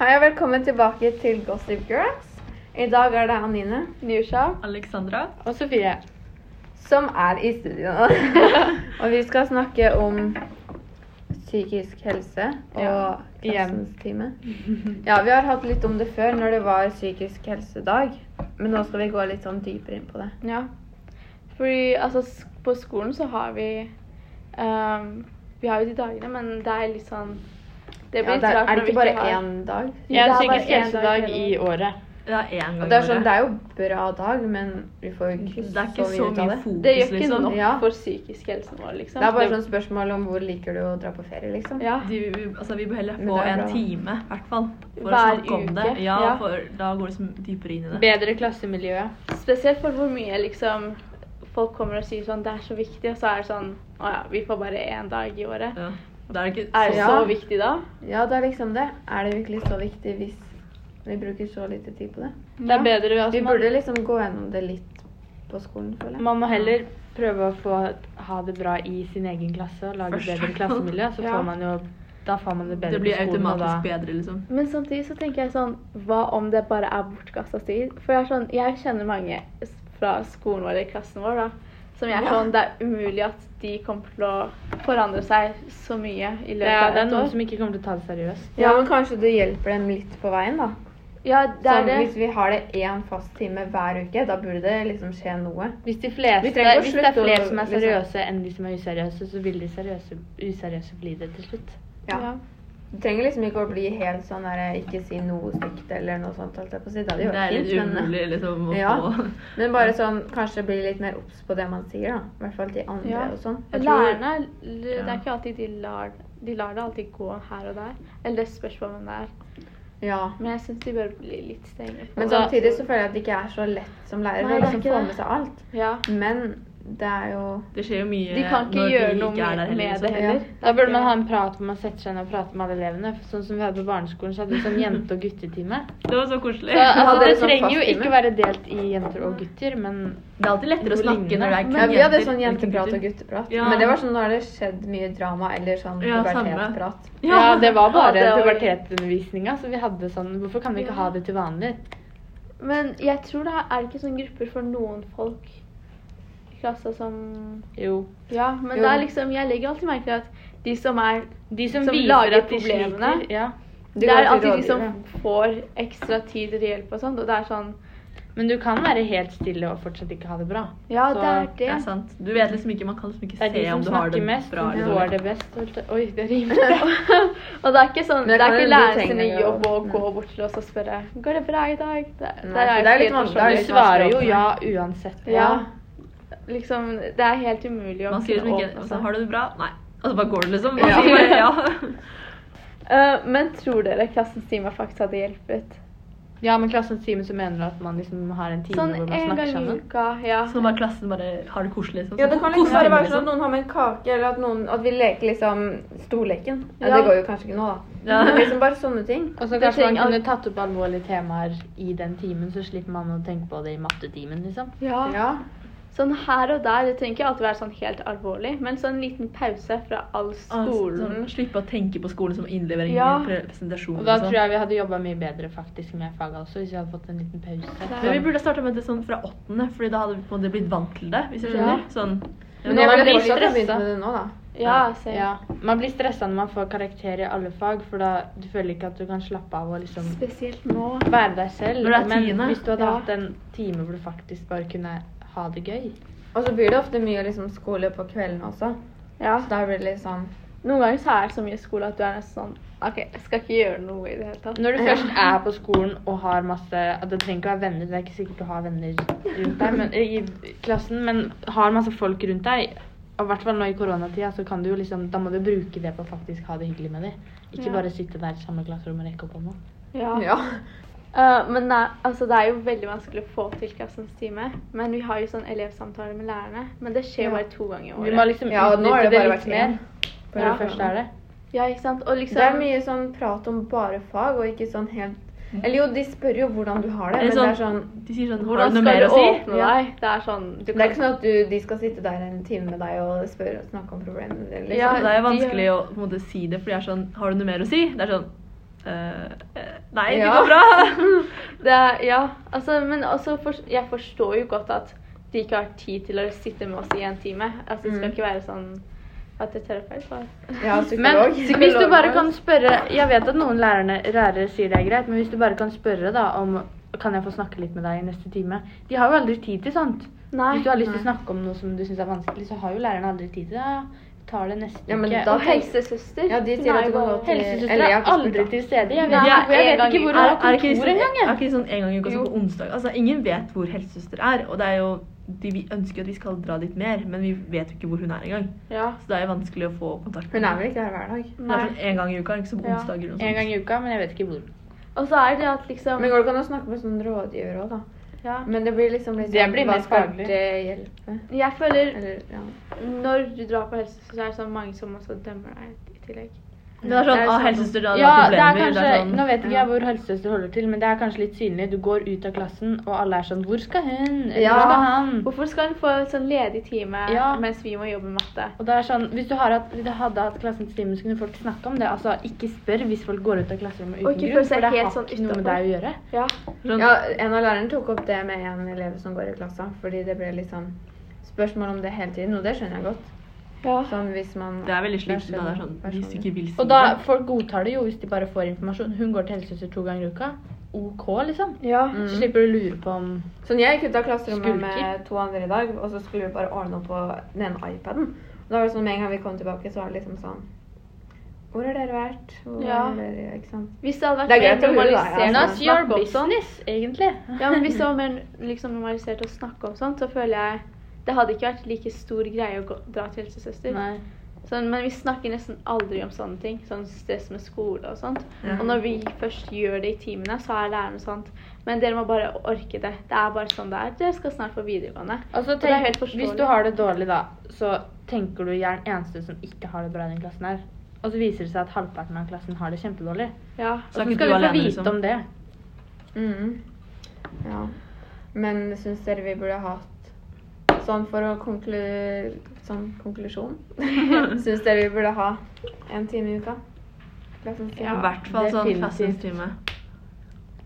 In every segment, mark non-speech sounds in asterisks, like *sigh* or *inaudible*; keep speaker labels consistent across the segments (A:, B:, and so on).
A: Hei og velkommen tilbake til Gossip Girls. I dag er det Anine, Nusha
B: Alexandra.
A: og Sofie som er i studio
B: *laughs*
A: nå. og vi skal snakke om psykisk helse og
B: Ja, igjen.
A: klassens
B: *laughs*
A: time. Ja, vi har hatt litt om det før når det var psykisk helsedag, men nå skal vi gå litt sånn dypere inn på det.
C: Ja. Fordi altså, s- på skolen så har vi ehm, Vi har jo de dagene, men det er litt sånn
A: Ja,
C: Det blir litt
A: det er,
C: rart
A: er
C: når
A: det
C: vi
A: ikke bare
C: har-
A: én dag?
C: det
B: Ja,
C: er bare
B: psykisk
C: én dag
B: helsedag
C: i
B: i
C: året.
B: året. Det er én gang
A: Og det er,
B: i
A: sånn,
B: året.
A: det er jo bra dag, men vi får jo ikke,
B: Det er ikke så
A: ut av
B: mye
A: det.
B: fokus,
C: Det gjør ikke
D: sånn
B: liksom.
C: nok
A: Ja.
C: for psykisk helsen vår, liksom.
A: Det er bare sånn spørsmål om hvor liker du å dra på ferie, liksom.
C: Ja.
B: De, vi- altså, vi bør heller
A: Men
B: få
A: det er
B: en
A: bra.
B: time, i hvert fall. For å
C: Hver
B: snakke om
C: uke,
B: det. Ja,
C: ja.
B: for da går det liksom dypere inn i det.
D: Bedre klassemiljø.
C: Spesielt for hvor mye liksom folk kommer og sier sånn Det er så viktig, og så er det sånn Å ja, vi får bare én dag i året.
B: Ja. Da er det ikke
C: Er det
B: så
A: Ja.
C: så viktig da?
A: Ja, det er liksom det. Er det virkelig så viktig hvis vi bruker så lite tid på det?
D: Det er bedre at
A: Vi
D: man,
A: burde liksom gå gjennom det litt på skolen, føler jeg.
D: man må heller prøve å få ha det bra i sin egen klasse og lage
B: Først.
D: bedre klassemiljø.
B: *laughs*
D: Så
A: Ja.
D: får man jo Da får man det bedre
B: Det blir
D: på skolen. og
B: automatisk
D: da,
B: bedre, liksom.
C: Men samtidig så tenker jeg sånn Hva om det bare er bortkasta tid? For jeg, er sånn, jeg kjenner mange s- fra skolen vår eller klassen vår da, som jeg er sånn Det er umulig at de kommer til å forandre seg så mye i løpet
D: det, er,
C: av
D: det er
C: et
D: noen
C: år.
D: som ikke kommer til å ta det seriøst.
A: Ja, men kanskje det hjelper dem litt på veien, da.
C: Ja, det
A: Sånn,
C: er det.
A: Hvis vi har det én fast time hver uke, da burde det liksom skje noe.
D: Hvis, de
A: Vi
D: fleste,
A: trenger å
D: hvis det er
A: slutte å-
D: flere som er
A: liksom-
D: seriøse enn de som er useriøse, så vil de seriøse, useriøse bli det til slutt.
A: Ja. Du trenger liksom ikke å bli helt sånn der, ikke si noe stygt eller noe sånt. holdt jeg på å si. Det hadde
B: Det
A: jo
B: er
A: vært
B: litt
A: fint, men
B: umulig liksom, å
A: Ja.
B: få
A: Men bare sånn, kanskje bli litt mer obs på det man sier, da. I hvert fall til andre
C: Ja.
A: og sånn.
B: Jeg tror-
C: Lærerne l- Det
B: Ja.
C: er ikke alltid de lar, de lar det alltid gå her og der. Eller det spørs på hvem det er.
A: Ja.
C: Men jeg syns de bør bli litt strenge. på
A: Men
C: det.
A: samtidig så føler jeg at det ikke er så lett som lærer
C: Nei,
A: å
C: det er
A: liksom
C: ikke
A: få
C: det.
A: med seg alt.
C: Ja.
A: Men det er jo
B: Det skjer jo mye
C: De kan ikke
B: når
C: gjøre
B: vi
C: noe
B: ikke er der
C: med,
B: heller.
C: med
B: liksom.
C: det heller.
D: Da burde man ha en prat hvor man setter seg ned og prater med alle elevene. Sånn som vi hadde på barneskolen, så hadde vi sånn jente- og guttetime.
B: *laughs* Det var så koselig.
D: Så, altså,
A: Hadde
D: det
A: dere sånn
D: trenger jo
A: fast time?
D: ikke være delt i jenter og gutter, men
B: Det er alltid lettere å
D: Noe
B: snakke når det er
D: lignende.
B: kun
A: ja, Vi hadde sånn
B: ikke
A: jenteprat og
B: gutter.
A: gutteprat.
B: Ja.
A: Men det var sånn når det skjedde mye drama eller sånn
B: Ja, samme.
A: pubertetsprat.
D: Ja, det var bare
C: Ja, det var-
D: pubertetundervisninga, så vi hadde sånn Hvorfor kan vi ikke ha det til vanlig?
C: Men jeg tror det er- er det ikke sånn grupper for noen folk i klassa som
D: Jo.
C: Ja, men
A: Jo.
C: det er liksom Jeg legger alltid merke til at de som er
D: De som,
C: Som
D: viser
C: lager
D: at de
C: problemene.
D: sliter. Ja.
A: Du
C: Det
A: går
C: er
A: til
C: alltid de som
A: rådgiver.
C: får ekstra tid til hjelp og sånt, og det er sånn
D: Men du kan være helt stille og fortsatt ikke ha det bra.
C: Ja,
D: Så
C: det er sånn-
B: Det er
C: det.
B: sant. Du vet liksom ikke, Man kan liksom ikke
D: Det er de
B: se
D: som
B: om du har det
D: snakker mest,
B: bra
D: som
B: eller
D: får
B: dårlig.
D: det best. holdt jeg- Oi, det rimer.
C: *laughs* og det er ikke sånn
A: Men det
C: Det er
A: kan
C: ikke
A: hende du
C: læreren
A: trenger
C: sin
A: det
C: jobb å
A: også.
C: gå bort til oss og spørre Går det bra i dag? Det,
A: Nei,
C: der
A: for det er litt
C: helt
A: vanskelig.
C: forskjellig.
A: Det
D: Du
A: er litt
D: sånn. svarer jo
A: vanskelig å
D: ja uansett.
C: Ja. Liksom Det er helt umulig å
B: Man sier
C: kunne
B: liksom ikke
C: åpne
B: altså,
C: seg.
B: 'Har du det bra?' Nei. Altså, bare går det, liksom. Man
A: Ja.
B: sier bare ja.
C: Eh, men tror dere klassens time faktisk hadde hjulpet?
D: Ja, men klassens time så mener du at man liksom har en time
C: Sånn
D: hvor man
C: en
D: snakker
C: gang i
D: sammen?
C: uka, ja.
B: Så bare klassen bare har det koselig. Liksom.
A: Ja, det kan liksom
B: Koser
A: bare
B: meg,
A: være sånn at noen har med en kake, eller at, noen, at vi leker liksom storleken. Ja,
C: Ja.
A: Det går jo kanskje ikke nå, da.
B: Ja.
A: Men liksom bare sånne ting.
D: Og så
C: Det
D: kanskje Altså, man
C: trenger
D: kunne tatt opp alvorlige temaer i den timen, så slipper man å tenke på det i mattetimen, liksom.
B: Mm,
C: ja.
A: Ja.
C: Sånn her og der, det trenger ikke alltid være sånn helt alvorlig, men sånn en liten pause fra all
B: Skolen.
C: skolen.
B: Sånn, slippe å tenke på skolen som innlevering
C: Ja.
B: eller pre- presentasjon.
D: Og da
B: og sånn.
D: tror jeg vi hadde jobba mye bedre faktisk med faget også, hvis vi hadde fått en liten pause.
B: Men vi burde starta med det sånn fra åttende, Fordi da hadde vi på en måte blitt vant til det. Hvis jeg
C: Ja.
B: skjønner Sånn
A: Men
D: nå
A: jeg
D: var
A: ville
D: det litt
A: fortsatt ha begynt
D: stressa.
A: med det nå, da.
C: Ja, se.
D: Ja. Man blir stressa når man får karakter i alle fag, for da du føler ikke at du kan slappe av og liksom
C: Spesielt nå.
D: være deg selv.
B: Når det er
D: Men
B: tiende.
D: hvis du hadde
C: Ja.
D: hatt en time hvor du faktisk bare kunne ha det gøy
A: Og så blir det ofte mye liksom skole på kvelden også.
C: Ja.
A: Så da blir det litt sånn
C: Noen ganger så er det så mye skole at du er nesten sånn OK, jeg skal ikke gjøre noe i det hele tatt.
D: Når du først er på skolen og har masse at Det trenger ikke å være venner, det er ikke sikkert du har venner rundt deg men, i klassen, men har masse folk rundt deg, og i hvert fall nå i koronatida, så kan du jo liksom, da må du bruke det på å faktisk ha det hyggelig med dem. Ikke
C: Ja.
D: bare sitte der i samme klasserom og rekke opp hånda.
C: Ja.
A: Ja.
C: Eh, men nei, altså, det er jo veldig vanskelig å få til klassens time. Men vi har jo sånn elevsamtaler med lærerne. Men det skjer jo
A: Ja.
C: bare to ganger i
D: Vi må
C: året.
D: liksom
A: Ja, og nå har det
D: utnytte det
A: bare
D: litt
A: vært
D: mer
A: én.
D: når
C: Ja.
D: du først er det.
C: Ja, ikke sant? Og liksom
A: Det er mye sånn prat om bare fag, og ikke sånn helt Eller jo, de spør jo hvordan du har det,
B: Eller
A: men det er sånn
B: De sier Mm. sånn Har
C: Hvordan
B: du
C: skal
B: noe mer
C: du
B: å si?
C: åpne
A: Ja.
C: deg? Det er sånn du
A: Det er ikke sånn at du, de skal sitte der en time med deg og spørre og snakke om problemene dine. Liksom.
B: Ja, det er
C: de-
B: jo vanskelig å på en måte, si det, for de er sånn Har du noe mer å si? Det er sånn eh, eh, Nei, det
A: Ja.
B: går bra.
C: Det er, ja, altså, men også for, jeg forstår jo godt at de ikke har tid til å sitte med oss i en time. Altså, Det skal
A: Mm.
C: ikke være sånn at det er terapeut. bare.
A: Ja,
D: Men
A: psykolog.
D: hvis du bare kan spørre Jeg vet at noen lærerne, lærere sier det er greit, men hvis du bare kan spørre da om kan jeg få snakke litt med deg i neste time? De har jo aldri tid til sånt.
C: Nei.
D: hvis du har lyst til å
A: nei.
D: snakke om noe som du syns er vanskelig, så har jo lærerne aldri tid til det. Ja, ja. Tar det neste
A: Ja, men
D: uke.
A: da
C: Og helsesøster.
A: Ja, de
C: hun
A: sier
C: er
A: at du
C: jo
A: kan
C: bare-
A: gå til-
D: Helsesøster
A: Eller jeg har
D: er
A: ikke
D: aldri
A: spurt, da.
D: til stede. Jeg vet,
C: Nei,
D: ikke, jeg
C: en
D: vet
C: gang
D: ikke
C: i-
D: hvor hun
B: Er,
D: har
B: er det ikke
D: kontor
B: sånn,
D: engang.
B: er det
D: jeg.
B: ikke sånn en gang i uka
A: Jo.
B: som på onsdag? Altså, Ingen vet hvor helsesøster er. Og det er jo, de, vi ønsker jo at vi skal dra dit mer, men vi vet jo ikke hvor hun er engang.
C: Ja.
B: Så det er jo vanskelig å få kontakt
A: Hun er
B: henne.
A: vel ikke her hver dag?
B: Det er sånn en gang i uka, ikke så på
C: Ja.
B: onsdager sånn. eller noe
D: En gang i uka, men jeg vet ikke hvor.
C: Og så er det at liksom
A: Men går det an å snakke med sånn rådgiver òg, da?
C: ja.
A: Men det blir liksom litt
D: Det
A: sånn,
D: blir
A: Hva
D: mer
A: skal
D: faglig.
A: det hjelpe?
C: Jeg føler
A: Eller, ja.
C: når du drar på helsesøster, så er det så mange som også dømmer deg i tillegg.
B: sånt. Men det er sånn,
A: Det er
B: ah,
A: sånn-
B: helsesøster, da,
D: Ja, det er
B: problemer. sånn-
D: kanskje, Nå vet ikke
A: Ja.
D: jeg hvor helsesøster holder til, men det er kanskje litt synlig. Du går ut av klassen, og alle er sånn Hvor skal hun? Eller,
A: Ja.
D: Hvor skal han?
C: Hvorfor skal hun få en sånn ledig time
D: Ja.
C: mens vi må jobbe med matte?
D: Og det er sånn, Hvis du har hatt, hvis du hadde hatt klassens time, så kunne folk snakke om det. Altså, Ikke spør hvis folk går ut av klasserommet
C: Og
D: uten
C: ikke føle
D: grunn,
C: seg
D: for det har
C: helt sånn
D: ikke noe med
C: utenfor.
D: deg å gjøre.
C: Ja.
B: Sånn,
A: ja, en av lærerne tok opp det med en elev som går i klassa, fordi det ble litt sånn spørsmål om det hele tiden, og det skjønner jeg godt.
C: ja.
A: Sånn hvis man
B: Det er veldig
A: Det er
B: slikt. da, Det er sånn,
A: personlig.
B: hvis du ikke vil si
D: Og da,
B: det
D: Folk godtar det jo hvis de bare får informasjon. Hun går til helsesøster to ganger i uka. OK, liksom.
C: ja.
A: Mm.
D: Så slipper du å lure på om
A: Sånn, Jeg gikk ut av klasserommet
D: Skulker.
A: med to andre i dag, og så skulle vi bare ordne opp på den ene iPaden. Og da var det sånn, Med en gang vi kom tilbake, så var det liksom sånn Hvor har dere vært? Hvor
C: Ja.
A: har dere, ikke sant?
C: Hvis det hadde vært
A: Det er greit
C: mer
A: å høre, da, ja,
C: normalisert å
A: altså.
D: That's your
C: snakke om sånt
D: business, egentlig.
C: Ja, men hvis det var mer liksom, normalisert å snakke om sånt, så føler jeg det hadde ikke vært like stor greie å gå, dra til helsesøster.
D: *laughs* Nei.
C: Sånn, men vi snakker nesten aldri om sånne ting, sånn stress med skole og sånt.
A: Ja.
C: Og når vi først gjør det i timene, så er læreren sånt. Men dere må bare orke det. Det er bare sånn det er. Dere skal snart på videregående.
D: Altså,
C: det er
D: tenk,
C: helt forståelig.
D: hvis du har det dårlig, da, så tenker du jeg er den eneste som ikke har det bra i den klassen her. Og så viser det seg at halvparten av klassen har det kjempedårlig.
C: Ja.
D: Og
B: Så
D: så
B: er
D: skal
B: ikke du
D: vi få
B: alene,
D: vite
B: liksom.
D: om det.
A: Mhm. Ja. Men syns dere vi burde hatt Sånn for å konklu... Sånn konklusjon. syns dere vi burde ha en time i uka? Klassens time?
B: I
A: Ja.
B: hvert fall sånn
D: definitivt.
B: klassens time.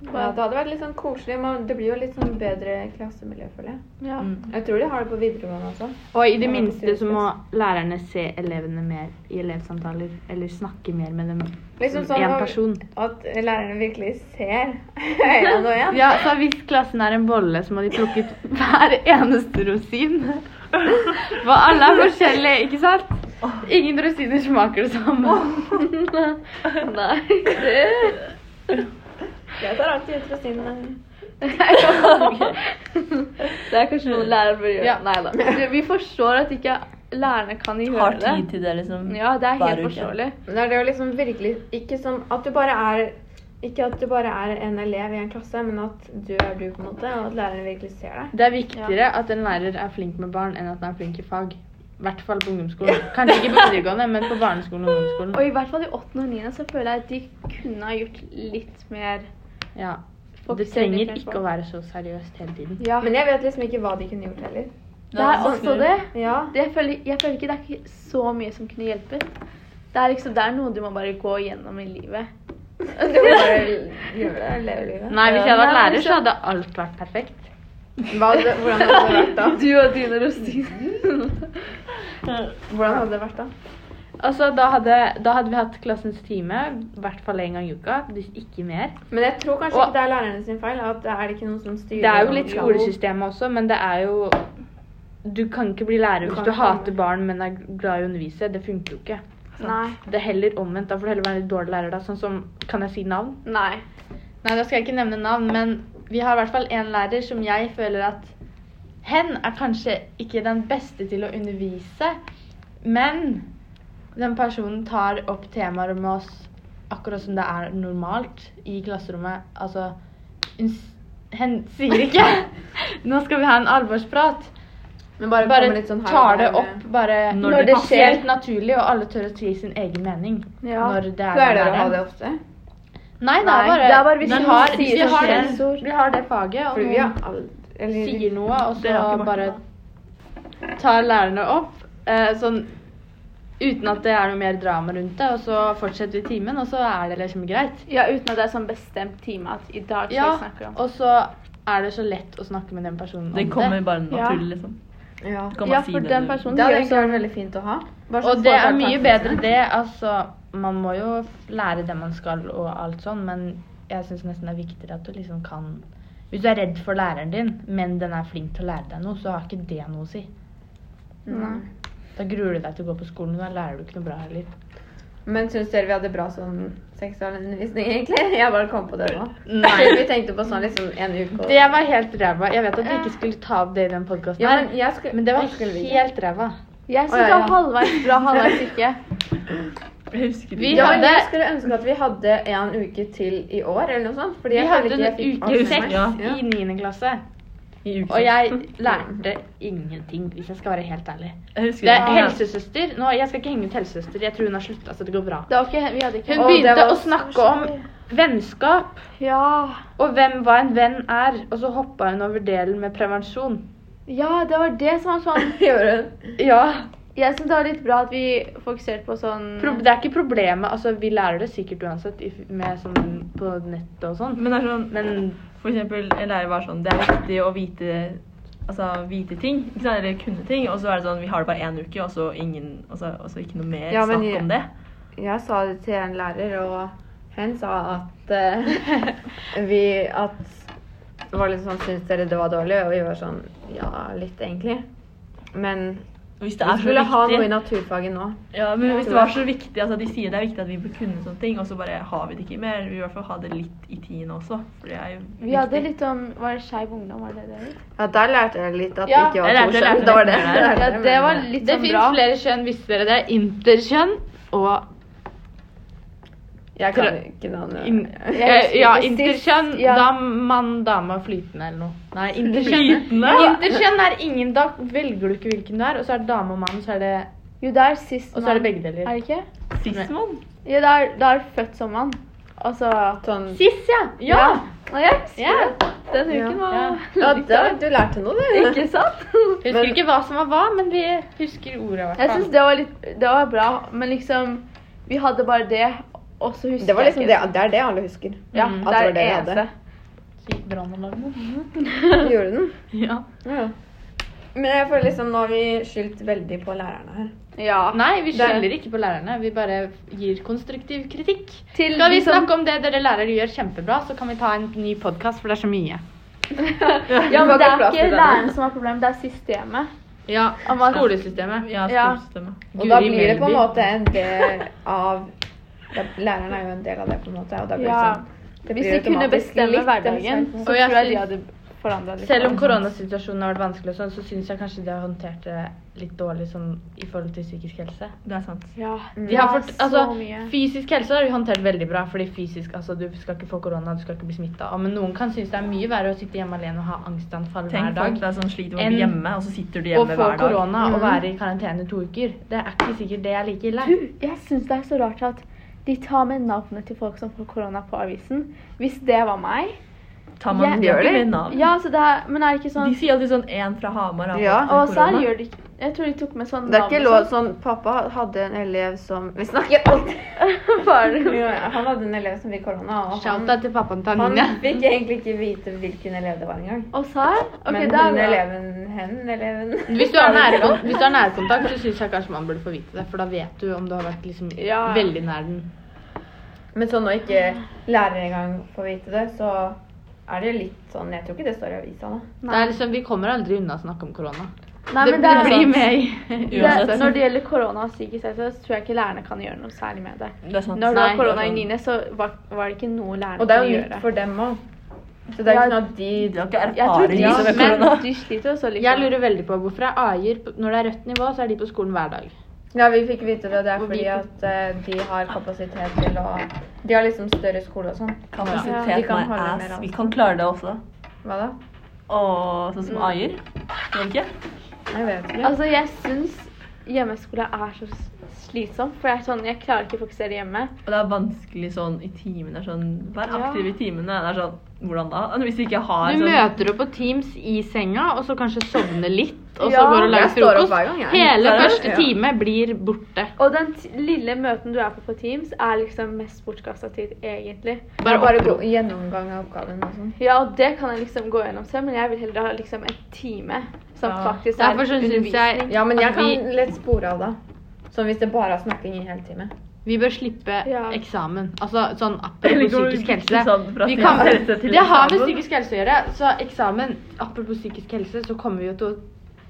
A: det hadde vært litt sånn koselig. Men det blir jo litt sånn bedre klassemiljø, føler jeg.
C: Ja.
B: Mm.
A: Jeg tror de har det på videregående også.
D: Og i
A: Ja,
D: det minste
A: absolutt.
D: så må lærerne se elevene mer i elevsamtaler, eller snakke mer med dem
A: Liksom sånn
D: som én
A: at-
D: Mm, person.
A: At lærerne virkelig ser *laughs* øynene og igjen.
D: Ja, så Hvis klassen er en bolle, så må de plukke ut hver eneste rosin. For alle er forskjellige, ikke sant? Ingen rosiner smaker det samme.
C: Nei. Det.
A: Jeg tar alltid ut eh. rosinene.
C: det er kanskje noe lærere bør gjøre.
D: Ja.
C: Nei da. Det- Vi forstår at ikke lærerne kan gjøre
B: Har
C: det.
B: tid til det, liksom.
C: Ja, det er
B: hver
C: helt
B: uke.
C: forståelig.
A: Men det er det å liksom virkelig Ikke som at du bare er ikke at du bare er en elev i en klasse, men at du er du, på en måte, og at læreren virkelig ser deg.
D: Det er viktigere at en lærer er flink med barn, enn at han er flink i fag. I hvert fall på ungdomsskolen. Kanskje ikke på videregående, men på barneskolen og
C: Og
D: ungdomsskolen.
C: i hvert fall i 8. og 9. så føler jeg at de kunne ha gjort litt mer
D: Ja. Det
C: fokusert
D: trenger
C: litt mer
D: ikke
C: på-
D: å være så seriøst hele tiden.
C: Ja,
A: Men jeg vet liksom ikke hva de kunne gjort heller.
C: det er også det.
A: *laughs* Ja.
C: det jeg, føler, jeg føler ikke det er ikke så mye som kunne hjulpet. Det er liksom, det er noe du må bare gå gjennom i livet.
A: Du må bare gjøre det, leve livet.
D: Nei, hvis jeg hadde vært
C: Nei, men
D: lærer,
C: så-
D: så hadde alt vært perfekt.
A: Hva hadde, hvordan hadde det vært da?
C: Du og dine rosiner.
A: Hvordan hadde det vært da?
D: Altså, da hadde, da hadde vi hatt klassens time, i hvert fall en gang i uka, hvis ikke mer.
A: Men jeg tror kanskje
D: Og-
A: ikke det er lærerne sin feil. At det er det ikke noen som styrer
D: Det er jo litt
A: Ja.
D: skolesystemet også, men det er jo Du kan ikke bli lærer
A: Du
D: hvis
A: kan
D: du
A: ikke
D: hater
A: komme.
D: barn, men er glad i å undervise. Det funker jo ikke.
C: Nei.
D: Det er heller omvendt. Da får du heller være en dårlig lærer, da. Sånn som Kan jeg si navn?
C: Nei.
D: Nei, da skal jeg ikke nevne navn, men vi har i hvert fall en lærer som jeg føler at Hen er kanskje ikke den beste til å undervise, men den personen tar opp temaer med oss akkurat som det er normalt i klasserommet. Altså hun s- Hen sier
A: *laughs*
D: ikke 'Nå skal vi ha en alvorsprat'.
A: Men bare,
D: Bare
A: kommer litt sånn her
D: tar
A: og
D: det
A: der
D: opp
A: med-
D: bare
B: Når det
C: passer.
D: Helt naturlig, og alle tør å si sin egen mening.
C: Ja.
D: Når det er
A: Pleier dere å
D: læreren.
A: ha det ofte?
D: Nei, det
C: Nei,
D: er bare,
C: det er bare hvis
D: vi,
B: noen
D: har,
C: sier
D: vi,
C: som
D: har
C: skjer.
D: det, vi har det faget, og
A: Fordi vi
D: noen
A: har aldri eller-
D: sier noe, og
B: Det har
D: så
B: ikke vært
D: bare tar lærerne opp. Eh, sånn Uten at det er noe mer drama rundt det, og så fortsetter vi timen, og så er det liksom greit.
C: Ja, uten at det er sånn bestemt time at i dag skal
D: Ja,
C: jeg snakke om
D: og så er det så lett å snakke med den personen om
B: Det kommer bare naturlig,
C: Ja.
B: liksom.
A: Ja.
B: Du kan
C: Ja,
B: bare si
C: for
B: det
C: den
B: du-
C: personen
A: Det hadde
C: gjør
A: egentlig vært
C: sånn
A: veldig fint å ha. Bare sånn
D: Og det er
A: folk
D: mye bedre
A: praktiske.
D: det. Altså, man må jo lære det man skal og alt sånn, men jeg syns nesten det er viktigere at du liksom kan Hvis du er redd for læreren din, men den er flink til å lære deg noe, så har ikke det noe å si.
C: Mm.
A: Nei.
D: Da gruer du deg til å gå på skolen, og da lærer du ikke noe bra heller.
A: Men syns dere vi hadde bra sånn seksualundervisning, egentlig? *laughs* Jeg bare kom på det nå. *laughs*
D: Nei.
A: Vi tenkte på sånn liksom en uke og
D: Det var helt ræva. Jeg vet at vi ikke skulle ta opp det i den podkasten,
A: ja, men,
D: men,
A: jeg skulle,
D: men det var
A: jeg skulle vi-
D: helt ræva.
C: Jeg
A: Å, ja,
C: syns det
A: ja.
C: var halvveis bra,
D: *laughs*
C: halvveis ikke.
B: Jeg husker
D: Vi
B: ikke.
A: ja, men
D: hadde-
A: Jeg skulle ønske at vi hadde en uke til i år, eller noe sånt. Fordi
D: Vi
A: jeg føler
D: hadde
A: ikke
D: en
A: jeg fikk
D: uke
A: alt med
D: seks
A: meg.
B: ja.
A: Ja.
D: i niende klasse,
B: I uke
D: og
B: seks.
D: jeg lærte ingenting, hvis jeg skal være helt ærlig.
B: Jeg husker
D: Det er
B: ikke.
D: helsesøster. Nå, jeg skal ikke henge ut helsesøster. Jeg tror hun har slutta, så det går bra.
C: Det var ikke, vi hadde ikke
D: Hun
A: Å, det
D: begynte
A: var
D: å
A: så
D: snakke om vennskap
C: Ja,
D: og hvem hva en venn er, og så hoppa hun over delen med prevensjon.
C: ja, det var det som var sånn
D: *laughs*
A: Gjorde hun.
D: Ja.
C: Jeg syns det var litt bra at vi fokuserte på sånn
D: Pro det er ikke problemet. Altså, vi lærer det sikkert uansett if- med sånn på nettet og sånn.
B: Men det er sånn
D: Men
B: For eksempel, en lærer var sånn Det er viktig å vite Altså vite ting, ikke sant? eller kunne ting. Og så er det sånn Vi har det bare én uke, og så ingen Og så, og så ikke noe mer
A: Ja, men
B: snakk
A: jeg-
B: om det.
A: Jeg sa det til en lærer, og hun sa at eh, *laughs* vi At det var litt sånn Syns dere det var dårlig? Og vi var sånn Ja, litt, egentlig. Men
B: Hvis Altså, det
A: vi skulle
B: er så
A: ha noe i
B: viktig
A: naturfaget nå.
B: ja, men hvis det var så viktig altså De sier det er viktig at vi bør kunne sånne ting, og så bare har vi det ikke mer. Vi vil i hvert fall ha det litt i tiende også. For det er jo
C: Vi hadde litt om Var det Skeiv Ungdom? var det det det? het?
A: Ja, der lærte jeg litt at
C: Ja,
A: det ikke
B: jeg
A: var
B: lærte-
A: to
B: jeg
A: kjønn.
B: lærte
A: Det var det.
B: litt mer der.
C: Ja, det var litt
D: det
C: sånn
D: fins
C: bra.
D: flere kjønn, visste dere det? Interkjønn og
A: Jeg kan ikke
D: in
A: navnet.
D: eh, Ja, interkjønn.
C: ja.
D: Da mann, dame og flytende eller noe. Nei, interkjønn.
B: Flytende?
D: Interkjønn er ingen Da velger du ikke hvilken du er, og så er det dame og mann, så er det,
C: Jo, det er sist
D: og så er det
C: mann.
D: begge
C: Er
D: deler.
C: det ikke?
B: Sismon?
C: Ja, det er, det er født som mann. Altså- Og så
A: Sånn
D: Sis, ja. Ja.
C: Nå, jeg husker
D: Ja. *laughs*
C: det. Den
A: Ja.
C: uken var
D: Ja.
A: Ja, der, du lærte noe, du.
C: Ikke sant?
D: Jeg husker
A: Men-
D: ikke hva som var hva, men vi husker ordet. i hvert
C: Jeg
D: fall.
C: syns det var litt Det var bra, men liksom Vi hadde bare det, og så husker
A: Det, var liksom
C: jeg
A: det,
C: ikke-
A: det er det alle husker.
C: Ja,
D: Mm.
C: det
A: At
C: er
A: det var
C: det
A: det vi
C: eneste.
A: hadde.
D: Så gikk brannalarmen.
A: Gjorde den?
B: Ja.
A: Ja. Men jeg føler liksom nå har vi skyldt veldig på lærerne her.
C: Ja.
D: Nei, vi
C: Det-
D: skylder ikke på lærerne. Vi bare gir konstruktiv kritikk.
C: Til
D: Skal vi
C: de som-
D: snakke om det dere lærere gjør kjempebra, så kan vi ta en ny podkast, for det er så mye.
C: Ja, men
A: Det var
C: det
A: ikke
C: er
A: plass til
C: ikke
A: denne.
C: læreren som har problemet, det er systemet.
D: Ja,
C: Om at-
D: Skolesystemet.
B: ja
C: Ja.
B: skolesystemet.
A: Og da
D: Guri
A: blir det på en
D: Melby.
A: måte en del av da, Læreren er jo en del av det, på en måte. Og da blir det
C: Ja.
A: sånn det
C: Hvis
A: blir
C: de kunne
A: automatisk
C: bestemme
A: litt,
C: hverdagen,
A: den
C: så
D: Og
C: liksom. tror jeg
D: jeg
C: de
D: synes-
C: hadde forandra litt.
D: Selv om koronasituasjonen har vært vanskelig, og sånn, så syns jeg kanskje de har håndtert det litt dårlig sånn, i forhold til psykisk helse.
B: Det er sant.
C: Ja.
A: Mm.
D: De har
C: Ja,
D: fått,
C: så
D: altså,
C: mye.
D: fysisk helse har de håndtert veldig bra, fordi fysisk, altså, du skal ikke få korona, du skal ikke bli smitta. Men noen kan synes det er mye verre å sitte hjemme alene og ha angstanfall
B: Tenk
D: hver
B: folk
D: dag.
B: da som sliter med å
D: En-
B: bli hjemme, og så sitter du
D: Og
B: hjemme
D: få
B: hver dag.
D: korona og
A: Mm.
D: være i karantene i to uker. Det er ikke sikkert det er like ille.
C: Du, jeg syns det er så rart at de tar med navnet til folk som får korona på avisen. Hvis det var meg
B: Tar man
C: Jeg-
B: gjør det
A: Gjør
B: med navn?
C: Ja, så det er, men er det ikke
B: De
C: sånn
B: sier alltid sånn én fra Hamar har
A: Ja.
B: fått
C: Og så
B: korona.
C: gjør de ikke Jeg tror de tok med sånn
A: Det er ikke
C: navn og
A: lov sånn Pappa hadde en elev som Vi snakker *laughs* alltid
C: sånn. Bare-
A: Jo, Han hadde en elev som fikk korona, og han,
D: Shout-out til pappaen til
A: han
D: Anine.
A: fikk egentlig ikke vite hvilken elev det var engang.
C: Og så her? Ok,
A: Men
C: det er
A: hun
C: bra.
A: eleven, hen eleven
D: Hvis du har nærkontakt, hvis du har nærkontakt så syns jeg kanskje man burde få vite det. For da vet du om du har vært liksom
C: Ja.
D: veldig nær den.
A: *laughs* Men sånn når ikke lærere engang får vite det, så er det litt sånn Jeg tror ikke det står i avisa nå.
D: Det er liksom, vi kommer aldri unna å snakke om korona.
C: Nei,
D: det
C: men det er
D: blir
C: sant.
D: med i
C: Det, når det gjelder korona og psykisk helse, så tror jeg ikke lærerne kan gjøre noe særlig med det.
B: Det er sant.
C: Når det
D: Nei,
C: var korona
B: det
C: i
B: er sant.
C: niende, så var, var det ikke noe lærerne
A: Og det er
C: kunne
A: jo
C: gjøre.
A: nytt for dem òg. Så det er
C: Ja,
A: ikke sånn at de
B: De har ikke
C: Jeg tror
B: erfaring
C: de,
D: Ja,
B: med
D: men-
B: korona.
C: de sliter også litt. altså, liksom.
D: Jeg lurer veldig på hvorfor er AI-er på- Når det er rødt nivå, så er de på skolen hver dag.
A: Ja, vi fikk vite det. Det er
D: Hvor
A: fordi
D: vi-
A: at eh, de har kapasitet til å De har liksom større skole og sånn. Ja, de
B: Kapasitet
A: kan
B: my
A: holde mer
B: ass.
A: avstand.
B: Vi kan klare det også.
A: Hva da?
B: Og sånn som Ayer. Gjør vi ikke?
A: Jeg vet ikke.
C: Altså, jeg syns hjemmeskole er så s- slitsomt. For jeg, er sånn, jeg klarer ikke å fokusere hjemme.
B: Og det er vanskelig sånn i timene. Sånn, vær
C: Ja.
B: aktiv i timene. Det er sånn, Hvordan da? Altså, Hvis du ikke har
D: Du
B: sånn
D: møter opp på Teams i senga, og så kanskje sovner litt, og så
C: Ja,
D: går du
A: jeg
D: og lager
A: står opp
D: frokost.
A: hver gang, jeg.
D: Hele
B: Ja.
D: første
B: Ja.
D: time blir borte.
C: Og den t lille møten du er på på Teams, er liksom mest bortkasta tid, egentlig.
A: Bare, bare
D: opp-
A: gå gjennomgang av oppgaven og sånn.
C: Ja, og det kan jeg liksom gå gjennom selv, men jeg vil heller ha liksom en time som
B: Ja.
C: faktisk er
D: Derfor så syns jeg
A: Ja, men jeg
D: at vi,
A: kan lett spore av, da. Som hvis det bare er snakking i en hel time.
D: vi bør slippe
C: Ja.
D: eksamen. Altså sånn
B: Eller
D: apropos
B: går
D: psykisk
B: litt
D: helse.
B: sånn fra
D: Vi kan,
B: psykisk helse til
D: det har med
B: eksamen.
D: psykisk helse å gjøre. Så eksamen, apropos psykisk helse, så kommer vi jo til å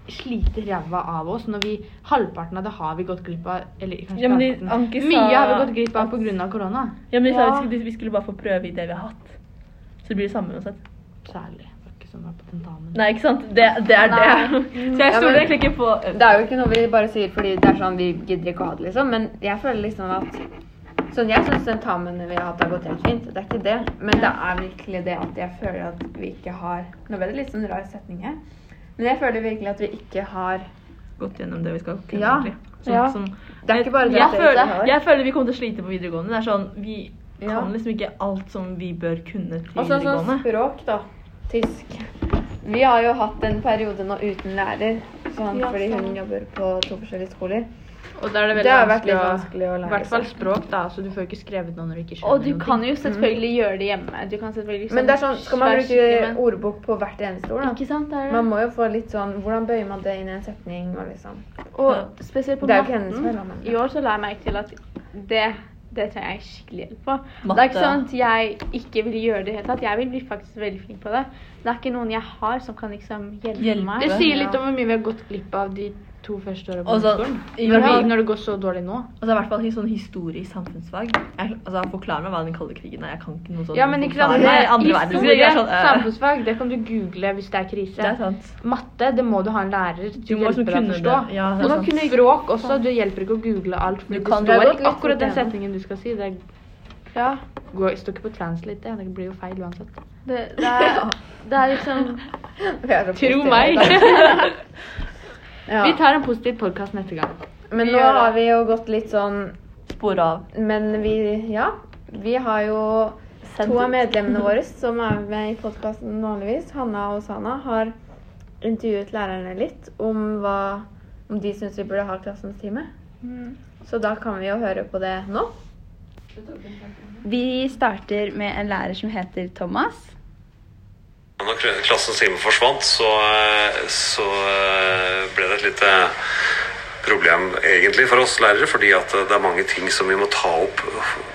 D: slite ræva av oss når vi Halvparten av det har vi gått glipp av. Eller kanskje
B: Ja, men
D: ikke
B: de-
D: halvparten.
B: Anki sa-
D: Mye har vi gått glipp av pga. korona.
B: Ja, men de sa
C: Ja.
B: vi skulle- vi skulle bare få prøve i det vi har hatt. Så det blir det samme uansett.
D: Særlig. Det var ikke som var på tentamen.
B: Nei, ikke sant? Det, det er
C: Nei.
B: det. *laughs* Så jeg
A: Ja,
B: stoler
A: men-
B: egentlig ikke på
A: Det er jo ikke noe vi bare sier fordi det er sånn vi gidder ikke å ha det, liksom. Men jeg føler liksom at Sånn, jeg syns tentamene vi har hatt, har gått helt fint. Det er ikke det. Men det er virkelig det at jeg føler at vi ikke har Nå ble det litt sånn rar setning her. Men jeg føler virkelig at vi ikke har
B: gått gjennom det vi skal kunne.
A: Ja.
B: egentlig. Sånn
C: Ja.
B: som-
A: Det er ikke bare det
B: jeg,
A: at dere ikke har.
B: føler, jeg føler vi kommer til å slite på videregående. Det er sånn, Vi
A: Ja.
B: kan liksom ikke alt som vi bør kunne til
A: Og så sånn
B: videregående.
A: språk, da. Tysk. Vi har jo hatt en periode nå uten lærer, sånn,
C: Ja,
A: fordi hun
C: sant.
A: jobber på to forskjellige skoler.
D: Og da er det
A: Det
D: veldig
A: har vært
D: vanskelig
A: litt
D: å
A: vanskelig å
D: I
A: lære
D: hvert fall
A: seg.
D: språk, da. Så du får ikke skrevet noe når du ikke skjønner
B: Mm.
C: Og du kan jo selvfølgelig gjøre det hjemme. Du kan selvfølgelig liksom
A: Men det er sånn, skal man
C: være skikkelig,
A: bruke
C: men-
A: ordbok på hvert eneste ord, da?
C: Ikke sant? Det er det.
A: Man må jo få litt sånn Hvordan bøyer man det inn i en setning? Og liksom.
C: Og spesielt på
A: Det er jo ikke hennes feil, da,
C: matten.
A: men-
C: I år så la jeg merke til at det, det trenger jeg skikkelig hjelp på. Det
B: Matte,
C: er ikke sånn at jeg ikke vil gjøre det i det hele tatt. Jeg vil bli faktisk veldig flink på det. Det er ikke noen jeg har som kan liksom hjelpe,
B: Hjelpe.
C: meg.
D: Det sier litt
A: Ja.
D: om hvor mye vi har gått glipp av de to første årene på
B: Og så-
D: skolen.
B: i
D: Når,
B: hvert
D: vi,
B: fall-
D: når det går så dårlig nå.
B: Altså, I hvert fall i sånn historie i samfunnsfag. Jeg, altså, Forklar meg hva den kalde krigen er. Jeg kan ikke noe sånn
D: Ja, men ikke sant?
B: forklare meg andre verdenskrig.
D: Historie,
B: Jeg er sånn, eh,
D: samfunnsfag, det kan du google hvis det er
B: det
D: krise.
B: er sant.
D: Matte, det må du ha en lærer
B: Du
D: til
B: må
D: å
B: liksom
D: hjelpe deg å
B: kunne
D: forstå.
B: det. Ja, det er
D: Og så
B: sant.
D: kunne språk også. Du hjelper ikke å google alt.
B: Du
D: For det
B: kan-
A: Det
D: står
A: har gått
D: ikke
A: litt
D: akkurat den
A: fort igjennom.
D: setningen du skal si. Det
C: Ja,
D: går, står ikke på translate, det. Det blir jo feil uansett.
C: det, det, er, det er liksom
A: *laughs* Vi er så
D: Tro
A: positive,
D: meg!
A: da.
D: *laughs* Vi
A: Ja.
D: tar en positiv podkast neste gang.
A: Men
C: vi
A: nå
C: gjør det.
A: har vi jo gått litt sånn
B: Spor av.
A: Men vi Ja. Vi har jo
B: Sendt
A: to av
B: ut.
A: medlemmene våre som er med i podkasten vanligvis, Hanna og Sana, har intervjuet lærerne litt om hva om de syns vi burde ha klassens time. Så da kan vi jo høre på det nå.
E: *laughs* Vi starter med en lærer som heter Thomas.
F: Når kl- klassens time forsvant, så, eh, så eh, ble det et lite problem egentlig for oss lærere, fordi at eh, det er mange ting som vi må ta opp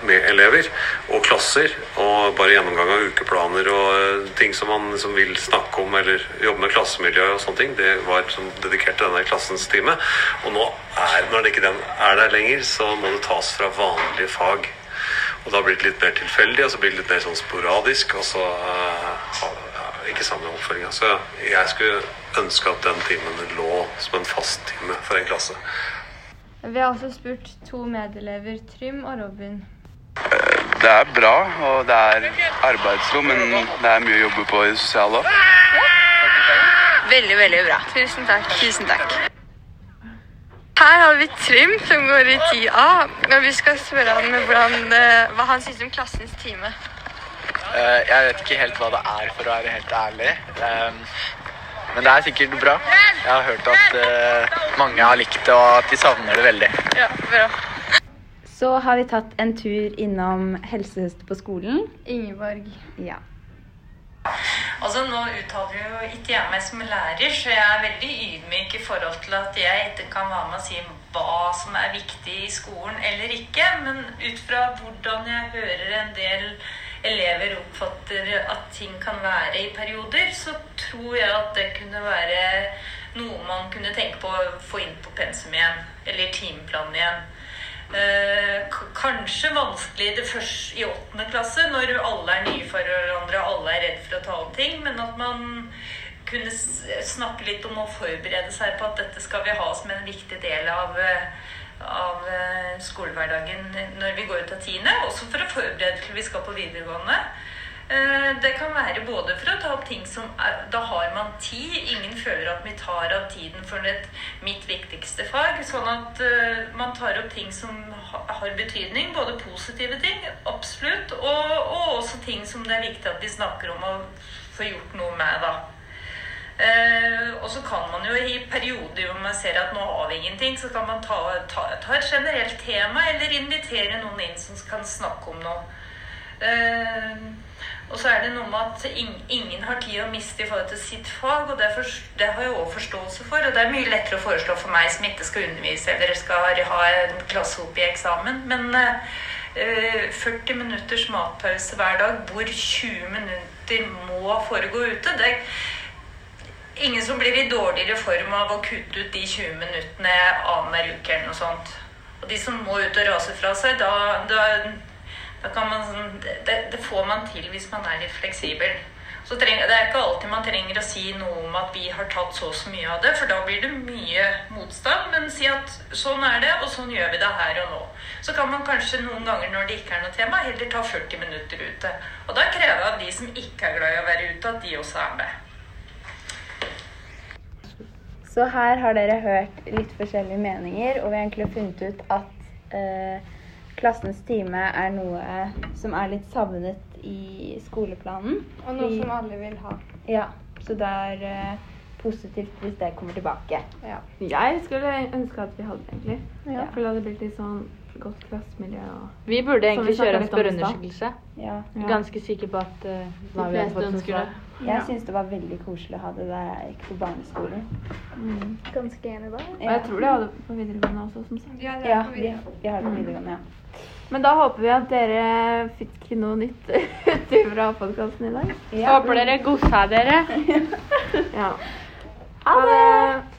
F: med elever og klasser, og bare gjennomgang av ukeplaner og eh, ting som man liksom vil snakke om eller jobbe med klassemiljø og sånne ting, det var liksom dedikert til denne klassens time. Og nå er, når det ikke den er der lenger, så må det tas fra vanlige fag. Og da blir det litt mer tilfeldig, og så blir det litt mer sånn sporadisk, og så eh, ha- ja, ikke samme oppfølginga. Så jeg skulle ønske at den timen lå som en fast time for en klasse.
E: Vi har også spurt to medelever, Trym og Robin.
G: Det er bra, og det er arbeidsro, men det er mye å jobbe på i det sosiale òg.
H: Veldig, veldig bra. Tusen takk. Tusen takk. Her har vi Trym, som går i 10A. Og vi skal spørre han med hvordan, eh, hva han syns om klassens time.
I: Jeg vet ikke helt hva det er, for å være helt ærlig. Ehm, Men det er sikkert bra. Jeg har hørt at eh, mange har likt det, og at de savner det veldig.
H: Ja, bra.
E: Så har vi tatt en tur innom helsesøster på skolen.
H: Ingeborg.
E: Ja.
J: Altså, Nå uttaler jo ikke jeg meg som lærer, så jeg er veldig ydmyk i forhold til at jeg ikke kan være med og si hva som er viktig i skolen eller ikke. Men ut fra hvordan jeg hører en del elever oppfatter at ting kan være i perioder, så tror jeg at det kunne være noe man kunne tenke på å få inn på pensum igjen. Eller timeplanen igjen. Eh, k- kanskje vanskelig det først i åttende klasse, når alle er nye for hverandre og alle er redd for å ta opp ting, men at man kunne s- snakke litt om å forberede seg på at dette skal vi ha som en viktig del av, eh, av eh, skolehverdagen når vi går ut av tiende, også for å forberede til vi skal på videregående. Eh, Det kan være både for å ta opp ting som er, Da har man tid. Ingen føler at vi tar av tiden for et, mitt viktigste fag. Sånn at eh, man tar opp ting som ha- har betydning. Både positive ting, absolutt, og, og også ting som det er viktig at de snakker om og får gjort noe med, da. Eh, og så kan man jo i perioder hvor man ser at nå har vi ingenting, så kan man ta, ta, ta et generelt tema eller invitere noen inn som kan snakke om noe. Eh, og så er det noe med at ing, ingen har tid å miste i forhold til sitt fag, og det, er fors- det har jeg også forståelse for. Og det er mye lettere å foreslå for meg som ikke skal undervise eller skal ha en klassehopp i eksamen. Men eh, eh, 40 minutters matpause hver dag, hvor 20 minutter må foregå ute, det Ingen som blir i dårligere form av å kutte ut de 20 minuttene annenhver uke eller noe sånt. Og de som må ut og rase fra seg, da, da, da kan man sånn- det, det får man til hvis man er litt fleksibel. Så treng, det er ikke alltid man trenger å si noe om at vi har tatt så og så mye av det, for da blir det mye motstand. Men si at sånn er det, og sånn gjør vi det her og nå. Så kan man kanskje noen ganger når det ikke er noe tema, heller ta 40 minutter ute. Og da krever jeg av de som ikke er glad i å være ute, at de også er med.
E: Så her har dere hørt litt forskjellige meninger, og vi har egentlig funnet ut at eh, klassens time er noe som er litt savnet i skoleplanen.
A: Og noe
E: I-
A: som alle vil ha.
E: Ja, så det er eh, positivt hvis det kommer tilbake.
A: Ja. Jeg skulle ønske at vi hadde det, egentlig.
E: Ja.
A: For det hadde blitt litt sånn godt klassemiljø. og-
D: Vi burde
A: Som
D: egentlig
A: vi snakket
D: kjøre en
A: litt om i stad.
D: spørreundersøkelse.
E: Ja.
D: Ganske sikker på at eh,
E: De
D: hva vi hadde
E: fleste
D: fått som
E: ønsker
D: svar.
E: det. Jeg syns det var veldig koselig å ha det da jeg gikk på barneskolen.
C: Ganske enig der.
A: Og jeg tror de hadde det på videregående også, som sagt.
C: Ja,
E: Ja, vi, vi har det på videregående, ja.
A: Men da håper vi at dere fikk noe nytt ut fra podkasten i dag.
E: Ja.
D: Håper dere godsa dere.
A: Ja. Ha det!